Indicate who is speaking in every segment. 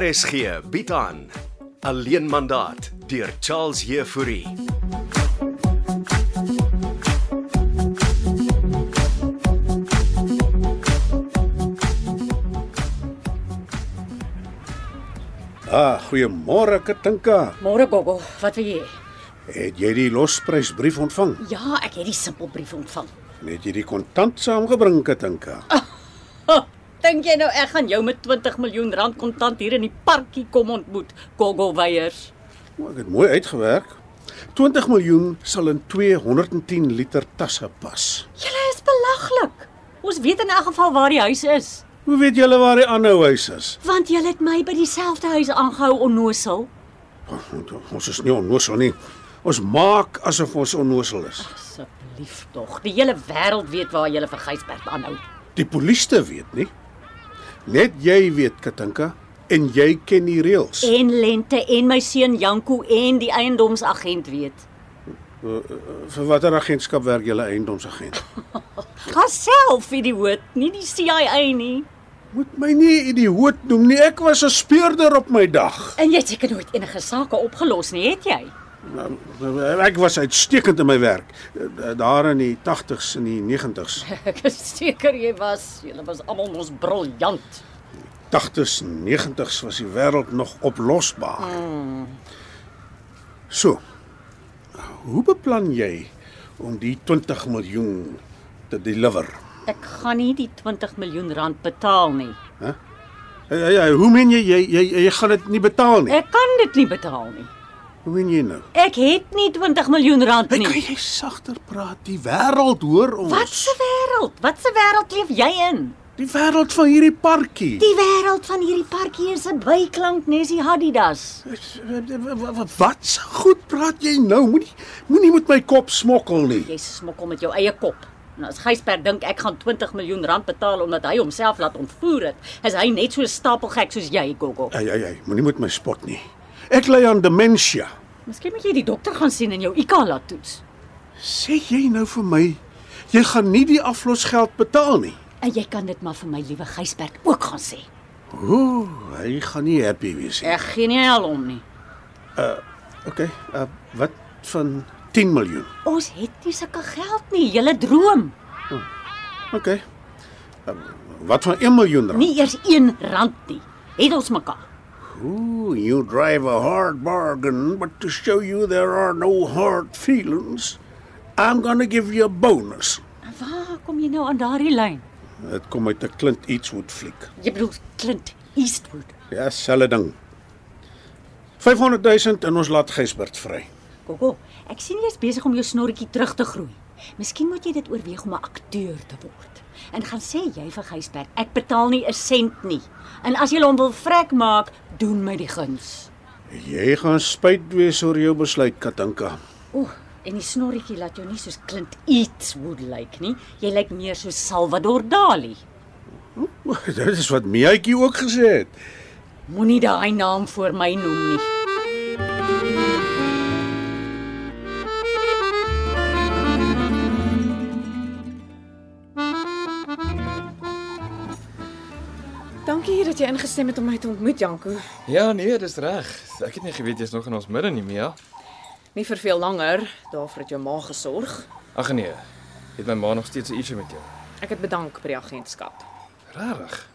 Speaker 1: RSG bied aan Alleen mandaat deur Charles Heffouri.
Speaker 2: Ah, goeiemôre Katinka.
Speaker 3: Môre Bobo, wat wil jy? hê?
Speaker 2: Het jy die losprysbrief ontvang?
Speaker 3: Ja, ek het die simpelbrief ontvang.
Speaker 2: Het jy die kontant saamgebring Katinka?
Speaker 3: Oh, dink jy nou ek gaan jou met 20 miljoen rand kontant hier in die parkie kom ontmoet, Gogo Weyers?
Speaker 2: Oh, ek het mooi uitgewerk. 20 miljoen sal in 210 liter tasse pas.
Speaker 3: Julle is belaglik. Ons weet in elk geval waar die huis is,
Speaker 2: Hoe weet julle waar die ander huis is?
Speaker 3: want julle het my by dieselfde huis aangehou onnosel.
Speaker 2: Ons is nie onnoosel nie. Ons maak asof ons onnoosel is.
Speaker 3: Asseblief tog, die hele wêreld weet waar julle vir Gysbert aanhou.
Speaker 2: Die polisie te weet nie. Net jy weet Katinka en jy ken die reëls.
Speaker 3: En Lente en my seun Janko en die eiendomsagent weet.
Speaker 2: Vir watter agentskap werk julle eiendomsagent?
Speaker 3: Gaself idioot, nie die CIA nie.
Speaker 2: Moet my nie idioot noem nie. Ek was 'n speurder op my dag.
Speaker 3: En jy het seker nooit enige sake opgelos nie, het jy?
Speaker 2: Nou, Ek was uitstekend in my werk. Eh, Daar in die 80s en die 90s.
Speaker 3: Ek is seker jy was, julle was almal mos briljant.
Speaker 2: 80s en 90s was die wêreld nog oplosbaar. So. Hoe beplan jy om die 20 miljoen te deliver?
Speaker 3: Ek gaan nie die 20 miljoen rand betaal nie.
Speaker 2: Ja, ja, hoe meen jy jy jy, jy gaan dit nie betaal nie?
Speaker 3: Ek kan dit nie betaal nie.
Speaker 2: Hoe meen jy nou?
Speaker 3: Ek het nie 20 miljoen rand
Speaker 2: Hey, kan
Speaker 3: nie.
Speaker 2: jy sagter praat? Die wêreld hoor ons.
Speaker 3: Wat 'n wêreld? Wat 'n wêreld leef jy in?
Speaker 2: Die wêreld van hierdie parkie.
Speaker 3: Die wêreld van hierdie parkie is 'n byklank nesie Adidas.
Speaker 2: Wat se goed praat jy nou? Moenie moenie met my kop smokkel nie.
Speaker 3: Jy smokkel met jou eie kop. En as Gysbert dink ek gaan 20 miljoen rand betaal omdat hy homself laat ontvoer het, is hy net so stapelgek soos jy, Gogo.
Speaker 2: Ai ai ai, moenie met my spot nie. Ek ly aan demensie.
Speaker 3: Miskien moet jy die dokter gaan sien en jou IQ laat toets.
Speaker 2: Sê jy nou vir my jy gaan nie die aflosgeld betaal nie?
Speaker 3: En jy kan dit maar vir my liewe Gysbert ook gaan sê.
Speaker 2: Ooh, hy gaan nie happy wees nie.
Speaker 3: Ek gee nie al om nie.
Speaker 2: Okay, uh, wat van 10 miljoen?
Speaker 3: Ons het nie sulke geld nie, julle droom.
Speaker 2: Okay. Uh, wat van 1 miljoen rand?
Speaker 3: Nie eers 1 rand nie. Het ons mekaar.
Speaker 2: Ooh, you drive a hard bargain, but to show you there are no hard feelings, I'm going to give you a bonus.
Speaker 3: En waar kom jy nou aan daardie lyn?
Speaker 2: Dit kom uit 'n Clint Eastwood fliek.
Speaker 3: Jy bedoel Clint Eastwood.
Speaker 2: Ja, selfe ding. 500 000 en ons laat Gysbert vry.
Speaker 3: Gogo, ek sien jy's besig om jou snorretjie terug te groei. Miskien moet jy dit oorweeg om 'n akteur te word. En gaan sê jy vir Gysbert, ek betaal nie 'n sent nie. En as jy hom wil vrek maak, doen my die guns.
Speaker 2: Jy gaan spyt wees oor jou besluit, Katinka.
Speaker 3: Oeh, en die snorretjie laat jou nie soos Clint Eastwood lyk nie. Jy lyk meer soos Salvador Dali.
Speaker 2: O, Dit is wat Miaatjie ook gesê het.
Speaker 3: Moenie daai naam voor my noem nie.
Speaker 4: Dankie dat jy ingestem het om my te ontmoet, Janko.
Speaker 5: Ja, nee, dis reg. Ek het nie geweet jy's nog in ons midde nie, Mia.
Speaker 4: Nie vir veel langer, daarvoor het jou ma gesorg.
Speaker 5: Ag nee. Het my ma nog steeds 'n issue met jou?
Speaker 4: Ek het bedank by die agentskap.
Speaker 5: Regtig?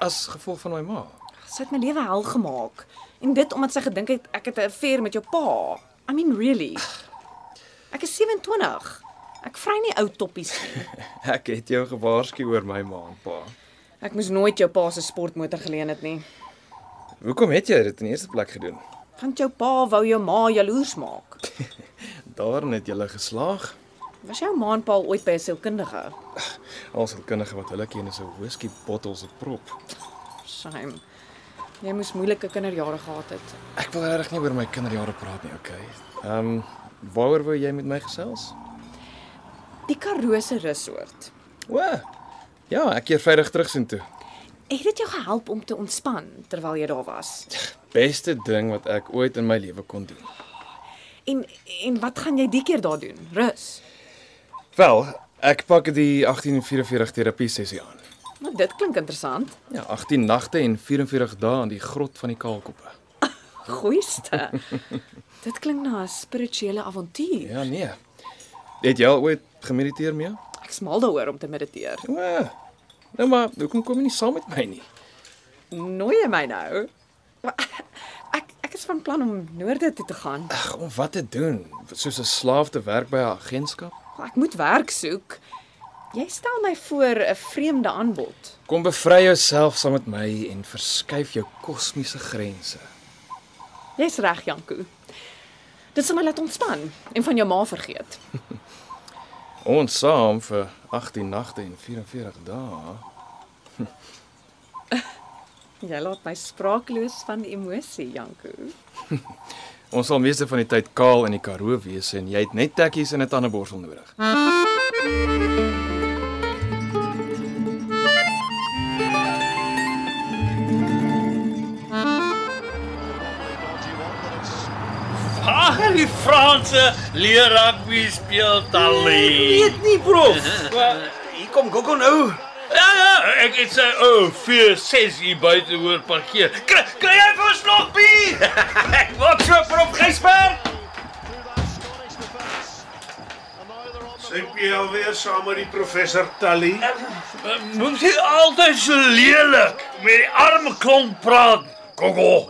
Speaker 5: As gevolg van my ma.
Speaker 4: Sy het my lewe hel gemaak en dit omdat sy gedink het ek het 'n affair met jou pa. I mean really. Ek is 27. Ek vry nie ou toppies nie.
Speaker 5: Ek het jou gewaarsku oor my ma en pa.
Speaker 4: Ek moes nooit jou pa se sportmotor geleen het nie,
Speaker 5: Hoekom het jy dit in eerste plek gedoen?
Speaker 4: want jou pa wou jou ma jaloers maak.
Speaker 5: Daarin het jy geslaag.
Speaker 4: Was jou ma en pa al ooit by 'n sielkundige?
Speaker 5: Alselkundige wat hulle ken is 'n whisky bottel se prop.
Speaker 4: Shame. Jy moes moeilike kinderjare gehad het.
Speaker 5: Ek wil regtig nie oor my kinderjare praat nie, okay? Ehm, um, waaroor wou jy met my gesels?
Speaker 4: Die Karoo se resort.
Speaker 5: O. Ja, ek keer veilig terug sien toe.
Speaker 4: Ek het jou gehelp om te ontspan terwyl jy daar was.
Speaker 5: Beste ding wat ek ooit in my lewe kon doen.
Speaker 4: En en wat gaan jy die keer daar doen? Rus.
Speaker 5: Wel, ek pak die 1844 terapie sessie aan.
Speaker 4: Nou, dit klink interessant.
Speaker 5: Ja, 18 nagte en 44 dae in die grot van die Kaalkoppe.
Speaker 4: Goeieste. dit klink na 'n spirituele avontuur.
Speaker 5: Ja, nee. Het jy al ooit gemediteer mee?
Speaker 4: Ek smal daaroor om te mediteer.
Speaker 5: O. Nou maar, hoekom kom jy nie saam met my nie?
Speaker 4: Nooi jy my nou? Maar Ek ek is van plan om noorde toe te gaan.
Speaker 5: Ag, om wat te doen? Soos 'n slaaf te werk by 'n agentskap?
Speaker 4: Maar Ek moet werk soek. Jy stel my voor 'n vreemde aanbod.
Speaker 5: Kom bevry jouself saam met my en verskuif jou kosmiese grense.
Speaker 4: Jy's reg, Janko. Dit sal my laat ontspan en van jou ma vergeet.
Speaker 5: Ons saam vir 18 nagte en 44 dae.
Speaker 4: Jy laat my spraakloos van emosie, Janko.
Speaker 5: Ons sal meeste van die tyd kaal in die Karoo wees en jy het net tekkies en 'n tandeborsel nodig.
Speaker 6: Ag, die Franse leer rugby speel talie.
Speaker 7: Nee, Weet nie, prof. Hier kom Gogo nou.
Speaker 6: Ja, ja, ek het sy ou oh, 46 hier buite hoor parkeer. Kry, kry jy vir ons nog bier? ek word so vir hom gesper.
Speaker 2: Syp jy alweer saam met die professor Tally?
Speaker 6: Eh, Moet jy altyd so lelik met die arme klomp praat? Gogo.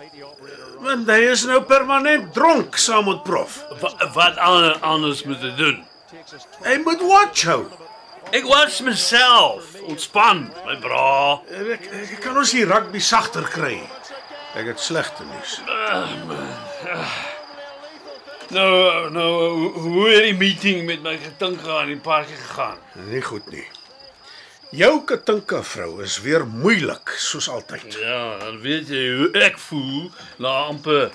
Speaker 2: Want hy is nou permanent dronk saam met prof.
Speaker 6: Wa- Wat ander anders moet jy doen?
Speaker 2: Hy moet watch hou.
Speaker 6: Ek was myself. Ontspan, my bra.
Speaker 2: Ek, ek kan ons hier rugby sagter kry. Ek het slegte nuus.
Speaker 6: Nou, nou, hoe- hoe het die meeting met my getink aan die park gegaan?
Speaker 2: Nie goed nie. Jou katinka vrou is weer moeilik soos altyd.
Speaker 6: Ja, dan weet jy hoe ek voel na amper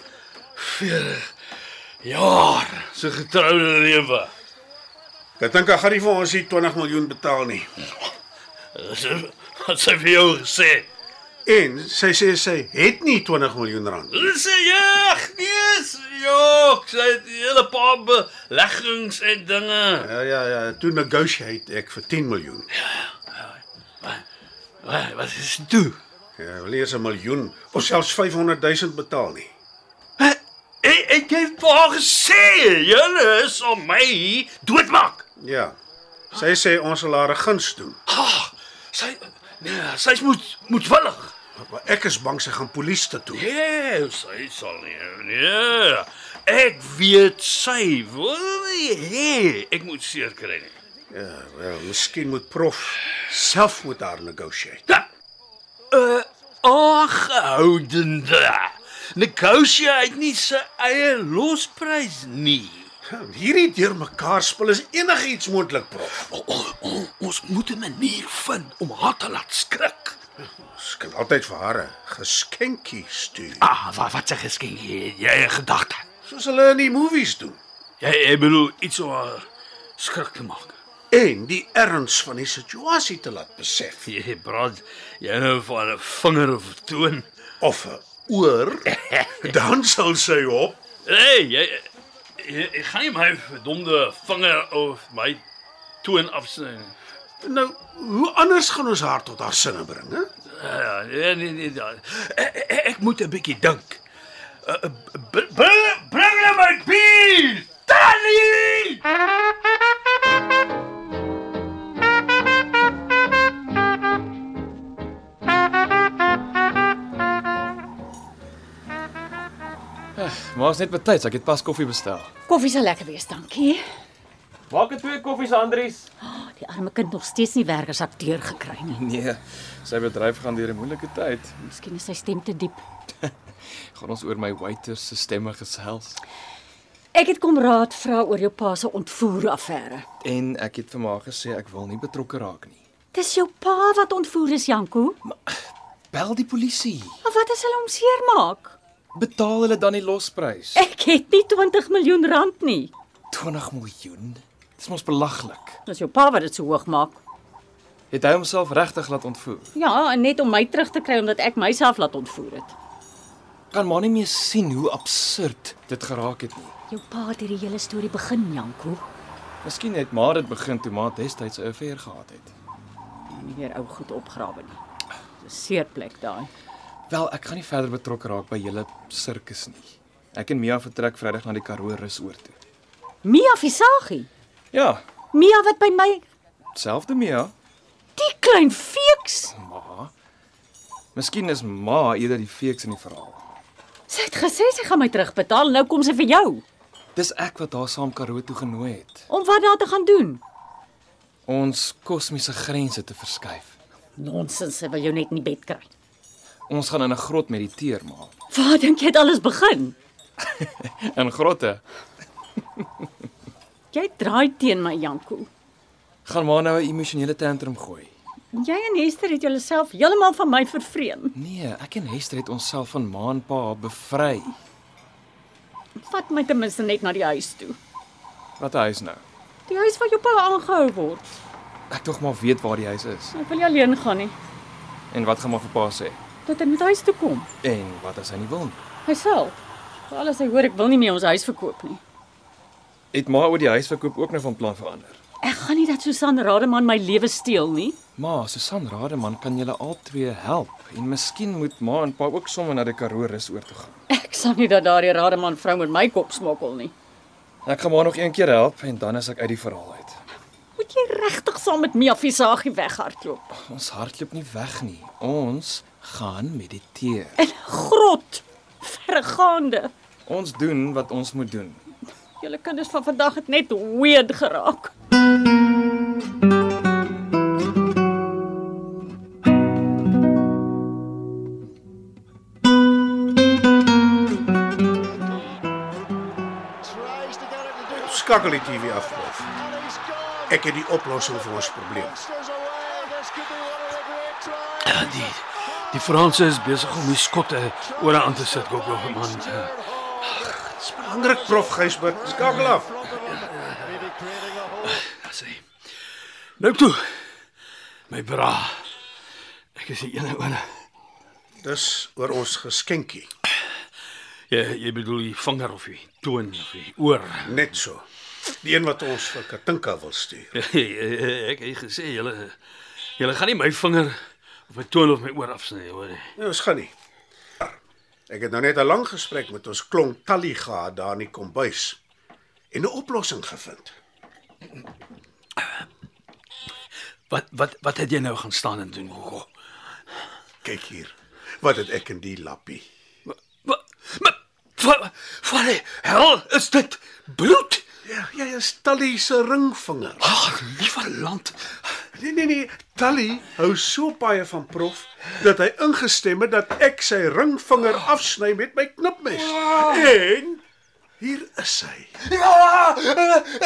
Speaker 6: 40 jaar se getroude lewe.
Speaker 2: Katinka gaan nie vir ons hier 20 miljoen betaal nie.
Speaker 6: Dis Wat sê vir jou gesê?
Speaker 2: En sy sê sy het nie 20 miljoen rand.
Speaker 6: Hulle sê ja, gees, jok, sy het 'n hele paar beleggings en dinge.
Speaker 2: Ja ja ja, toe negotiate ek vir 10 miljoen.
Speaker 6: Wat, wat is dit toe?
Speaker 2: Ja, wil eers 'n miljoen of selfs 500 000 betaal nie.
Speaker 6: Ek ek het vir haar gesê, julle sal my doodmaak.
Speaker 2: Ja. Sy sê ons sal haar 'n guns doen.
Speaker 6: Ah, sy nee, sy moet moet willig.
Speaker 2: Maar ek is bang sy gaan polisie toe. toe.
Speaker 6: Nee, sy sal nie. Nee. Ek weet sy wil nie hê ek moet seer kry nie.
Speaker 2: Ja, wel, miskien moet prof self met haar negotiate.
Speaker 6: Da. Uh, aangehoudende. Negotiate nie sy eie losprys nie.
Speaker 2: Ja, Hierdie deurmekaar spel is enigiets moontlik, prof.
Speaker 6: O, o, o, ons moet 'n manier vind om haar te laat skrik.
Speaker 2: Ons kan altyd vir haar 'n geskenkie stuur,
Speaker 6: Ah, wat wat 'n geskenk jy jy in gedagte.
Speaker 2: soos hulle in die movies doen.
Speaker 6: Jy jy bedoel iets om haar skrik te maak.
Speaker 2: En die erns van die situasie te laat besef
Speaker 6: Jy praat jy nou van 'n vinger of 'n toon.
Speaker 2: of 'n oor, dan sal sy op.
Speaker 6: Hey, jy, jy, jy gaan nie my verdomde vinger of my toon afsny nie.
Speaker 2: Nou, hoe anders gaan ons haar tot haar sinne bring, hè?
Speaker 6: Ja, nee nee nee. ja. Ek, ek- ek moet 'n bietjie dink. Uh, uh, br- Bring bring hulle my bier. Tannie!
Speaker 5: Maar is net betyds, ek het pas koffie bestel.
Speaker 3: Koffie sal lekker wees, dankie.
Speaker 7: Maak dit twee koffies, Andries.
Speaker 3: Die arme kind nog steeds nie werk as akteur gekry nie.
Speaker 5: Nee, sy bedryf gaan deur 'n moeilike tyd.
Speaker 3: Miskien is sy stem te diep.
Speaker 5: Gaan ons oor my waiters se stemme gesels
Speaker 3: Ek het kom raad vra oor jou pa se ontvoer affære.
Speaker 5: en ek het vir ma gesê ek wil nie betrokke raak nie.
Speaker 3: Dis jou pa wat ontvoer is, Janko.
Speaker 5: Bel die polisie.
Speaker 3: Maar wat as hulle hom seermaak?
Speaker 5: Betaal hulle dan die losprys.
Speaker 3: Ek het nie 20 miljoen rand nie.
Speaker 5: 20 miljoen. Dis mos belaglik.
Speaker 3: Dis jou pa wat dit so hoog maak.
Speaker 5: Het hy homself regtig laat ontvoer?
Speaker 3: Ja, en net om my terug te kry omdat ek myself laat ontvoer het.
Speaker 5: Kan maar nie meer sien hoe absurd dit geraak het nie.
Speaker 3: Jou pa het hierdie hele storie begin, Janko.
Speaker 5: Miskien het maar dit begin toe maar destyds 'n affair gehad het.
Speaker 3: nie weer ou goed opgrawe nie. Dis 'n seerplek daai.
Speaker 5: Wel, ek gaan nie verder betrokke raak by julle sirkus nie. Ek en Mia vertrek Vrydag na die Karoo rusoord toe.
Speaker 3: Mia Visagie.
Speaker 5: Ja,
Speaker 3: Mia wat by my
Speaker 5: selfde Mia.
Speaker 3: die klein feeks.
Speaker 5: Ma. Miskien is ma eerder die feeks in die verhaal.
Speaker 3: Sy het gesê sy gaan my terugbetaal. Nou kom sy vir jou.
Speaker 5: Dis ek wat haar saam Karoo toe genooi het.
Speaker 3: Om wat daar te gaan doen?
Speaker 5: Ons kosmiese grense te verskuif.
Speaker 3: Nonsens, sy wil jou net nie bed kry.
Speaker 5: Ons gaan in 'n grot mediteer, ma.
Speaker 3: Waar dink jy dit alles begin?
Speaker 5: In grotte.
Speaker 3: Jy draai teen my Janko.
Speaker 5: Gaan ma nou 'n emosionele tantrum gooi.
Speaker 3: Jy en Hester het jouself heeltemal van my vervreem.
Speaker 5: Nee, ek en Hester het onsself van ma en pa bevry.
Speaker 3: Vat my ten minste net na die huis toe.
Speaker 5: Wat 'n huis nou.
Speaker 3: Die huis waar jou pa aangehou word.
Speaker 5: Ek tog maar weet waar die huis is
Speaker 3: Ek wil nie alleen gaan nie.
Speaker 5: en wat gaan maar vir pa sê.
Speaker 3: Dat hy moet huis toe kom.
Speaker 5: En wat as hy nie wil nie?
Speaker 3: Hy sal. Vir alles hy hoor ek wil nie meer ons huis verkoop nie.
Speaker 5: Het ma oor die huisverkoop ook nou van plan verander?
Speaker 3: Ek gaan nie dat Susan Rademan my lewe steel nie.
Speaker 5: Ma, Susan Rademan kan julle albei help en miskien moet ma en pa ook sommer na die Karoo rus oor toe gaan.
Speaker 3: Ek sal nie dat daardie Rademan vrou met my kop smokkel nie.
Speaker 5: Ek gaan maar nog een keer help en dan is ek uit die verhaal uit.
Speaker 3: Moet jy regtig saam met Mia Visagie weghardloop?
Speaker 5: Ons hardloop nie weg nie. Ons gaan mediteer.
Speaker 3: Grot. Vergaande.
Speaker 5: Ons doen wat ons moet doen.
Speaker 3: Julle kinders van vandag het net weird geraak.
Speaker 2: Skakel die TV af. Rolf. Ek het die oplossing vir ons probleem.
Speaker 6: Ja, Die die Franse is besig om die skotte oor aan te sit, Gogo man.
Speaker 2: Belangrik prof Gysbert, skakel af.
Speaker 6: Sê. Nou toe. My bra. Ek is die ene one.
Speaker 2: Dis oor ons geskenkie.
Speaker 6: Jy jy bedoel die vinger of die toon of die oor.
Speaker 2: Net so. Die een wat ons vir Katinka wil stuur.
Speaker 6: ek het gesê julle julle gaan nie my vinger of my toon of my oor afsny hoor.
Speaker 2: Nee, ons gaan nie. Ek het nou net 'n lang gesprek met ons klomp Tally gehad daar in die kombuis en 'n oplossing gevind.
Speaker 6: Wat wat wat het jy nou gaan staan en doen, Gogo?
Speaker 2: Kyk hier. Wat het ek in die lappie?
Speaker 6: Wat wat wat die hel is dit? Bloed?
Speaker 2: Ja, jy is Tally se ringvinger.
Speaker 6: Ag, liewe land.
Speaker 2: Nee nee nee, Tally hou so baie van prof dat hy ingestem het dat ek sy ringvinger afsny met my knipmes. En hier is sy.
Speaker 6: Ja,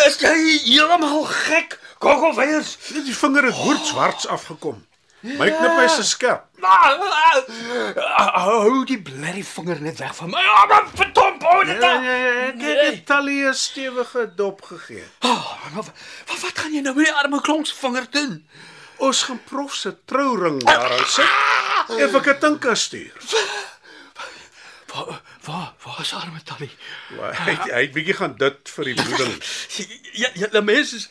Speaker 6: is jy heeltemal gek? Kokkelweiers.
Speaker 2: Net die vinger het hoort swarts afgekom. My knipmes is skerp.
Speaker 6: Ah, Hou die blerrie vinger net weg van my. Ah, maar verdomp, hou dit daar.
Speaker 2: Kyk, het Tally 'n stewige dop gegee.
Speaker 6: Ah, maar Wat wat gaan jy nou met die arme klonksvinger doen?
Speaker 2: Ons gaan prof se trouring daar aan sit. Even ek dit dink as stuur.
Speaker 6: Waar waar waar is arme Tannie?
Speaker 2: Maar Hy het- hy het bietjie gaan dit vir die bloeding.
Speaker 6: Ja, ja, die mense is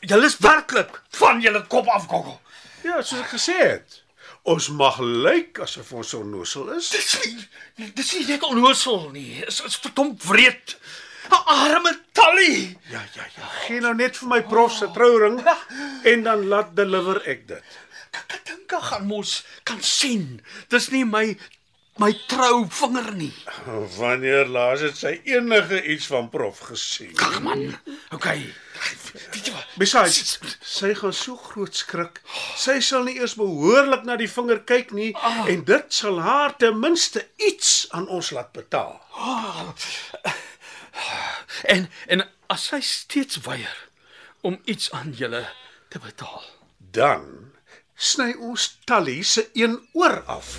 Speaker 6: julle is werklik van julle kop af kokkel.
Speaker 2: Ja, soos ek gesê het. Ons mag lyk asof ons onnosel is.
Speaker 6: Dis nie dis nie net onnoosel nie. Is is verdomp wreed. Arme Tannie.
Speaker 2: Ja ja ja. Geen nou net vir my prof se trouring en dan laat deliver ek dit.
Speaker 6: Katinka gaan mos kan sien. Dis nie my my trou vinger nie.
Speaker 2: Wanneer laas het sy enige iets van prof gesien?
Speaker 6: Ag man. Okay. Weet jy wat?
Speaker 2: Besides, sy gaan so groot skrik. Sy sal nie eers behoorlik na die vinger kyk nie en dit sal haar ten minste iets aan ons laat betaal.
Speaker 6: En en as sy steeds weier om iets aan julle te betaal.
Speaker 2: Dan sny ons Tally se een oor af.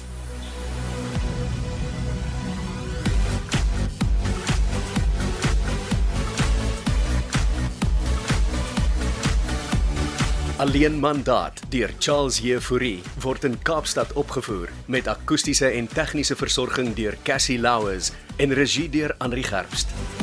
Speaker 1: Alleen mandaat deur Charles Jefouri word in Kaapstad opgevoer met akoestiese en tegniese versorging deur Cassie Louws en regie deur Henri Gerst.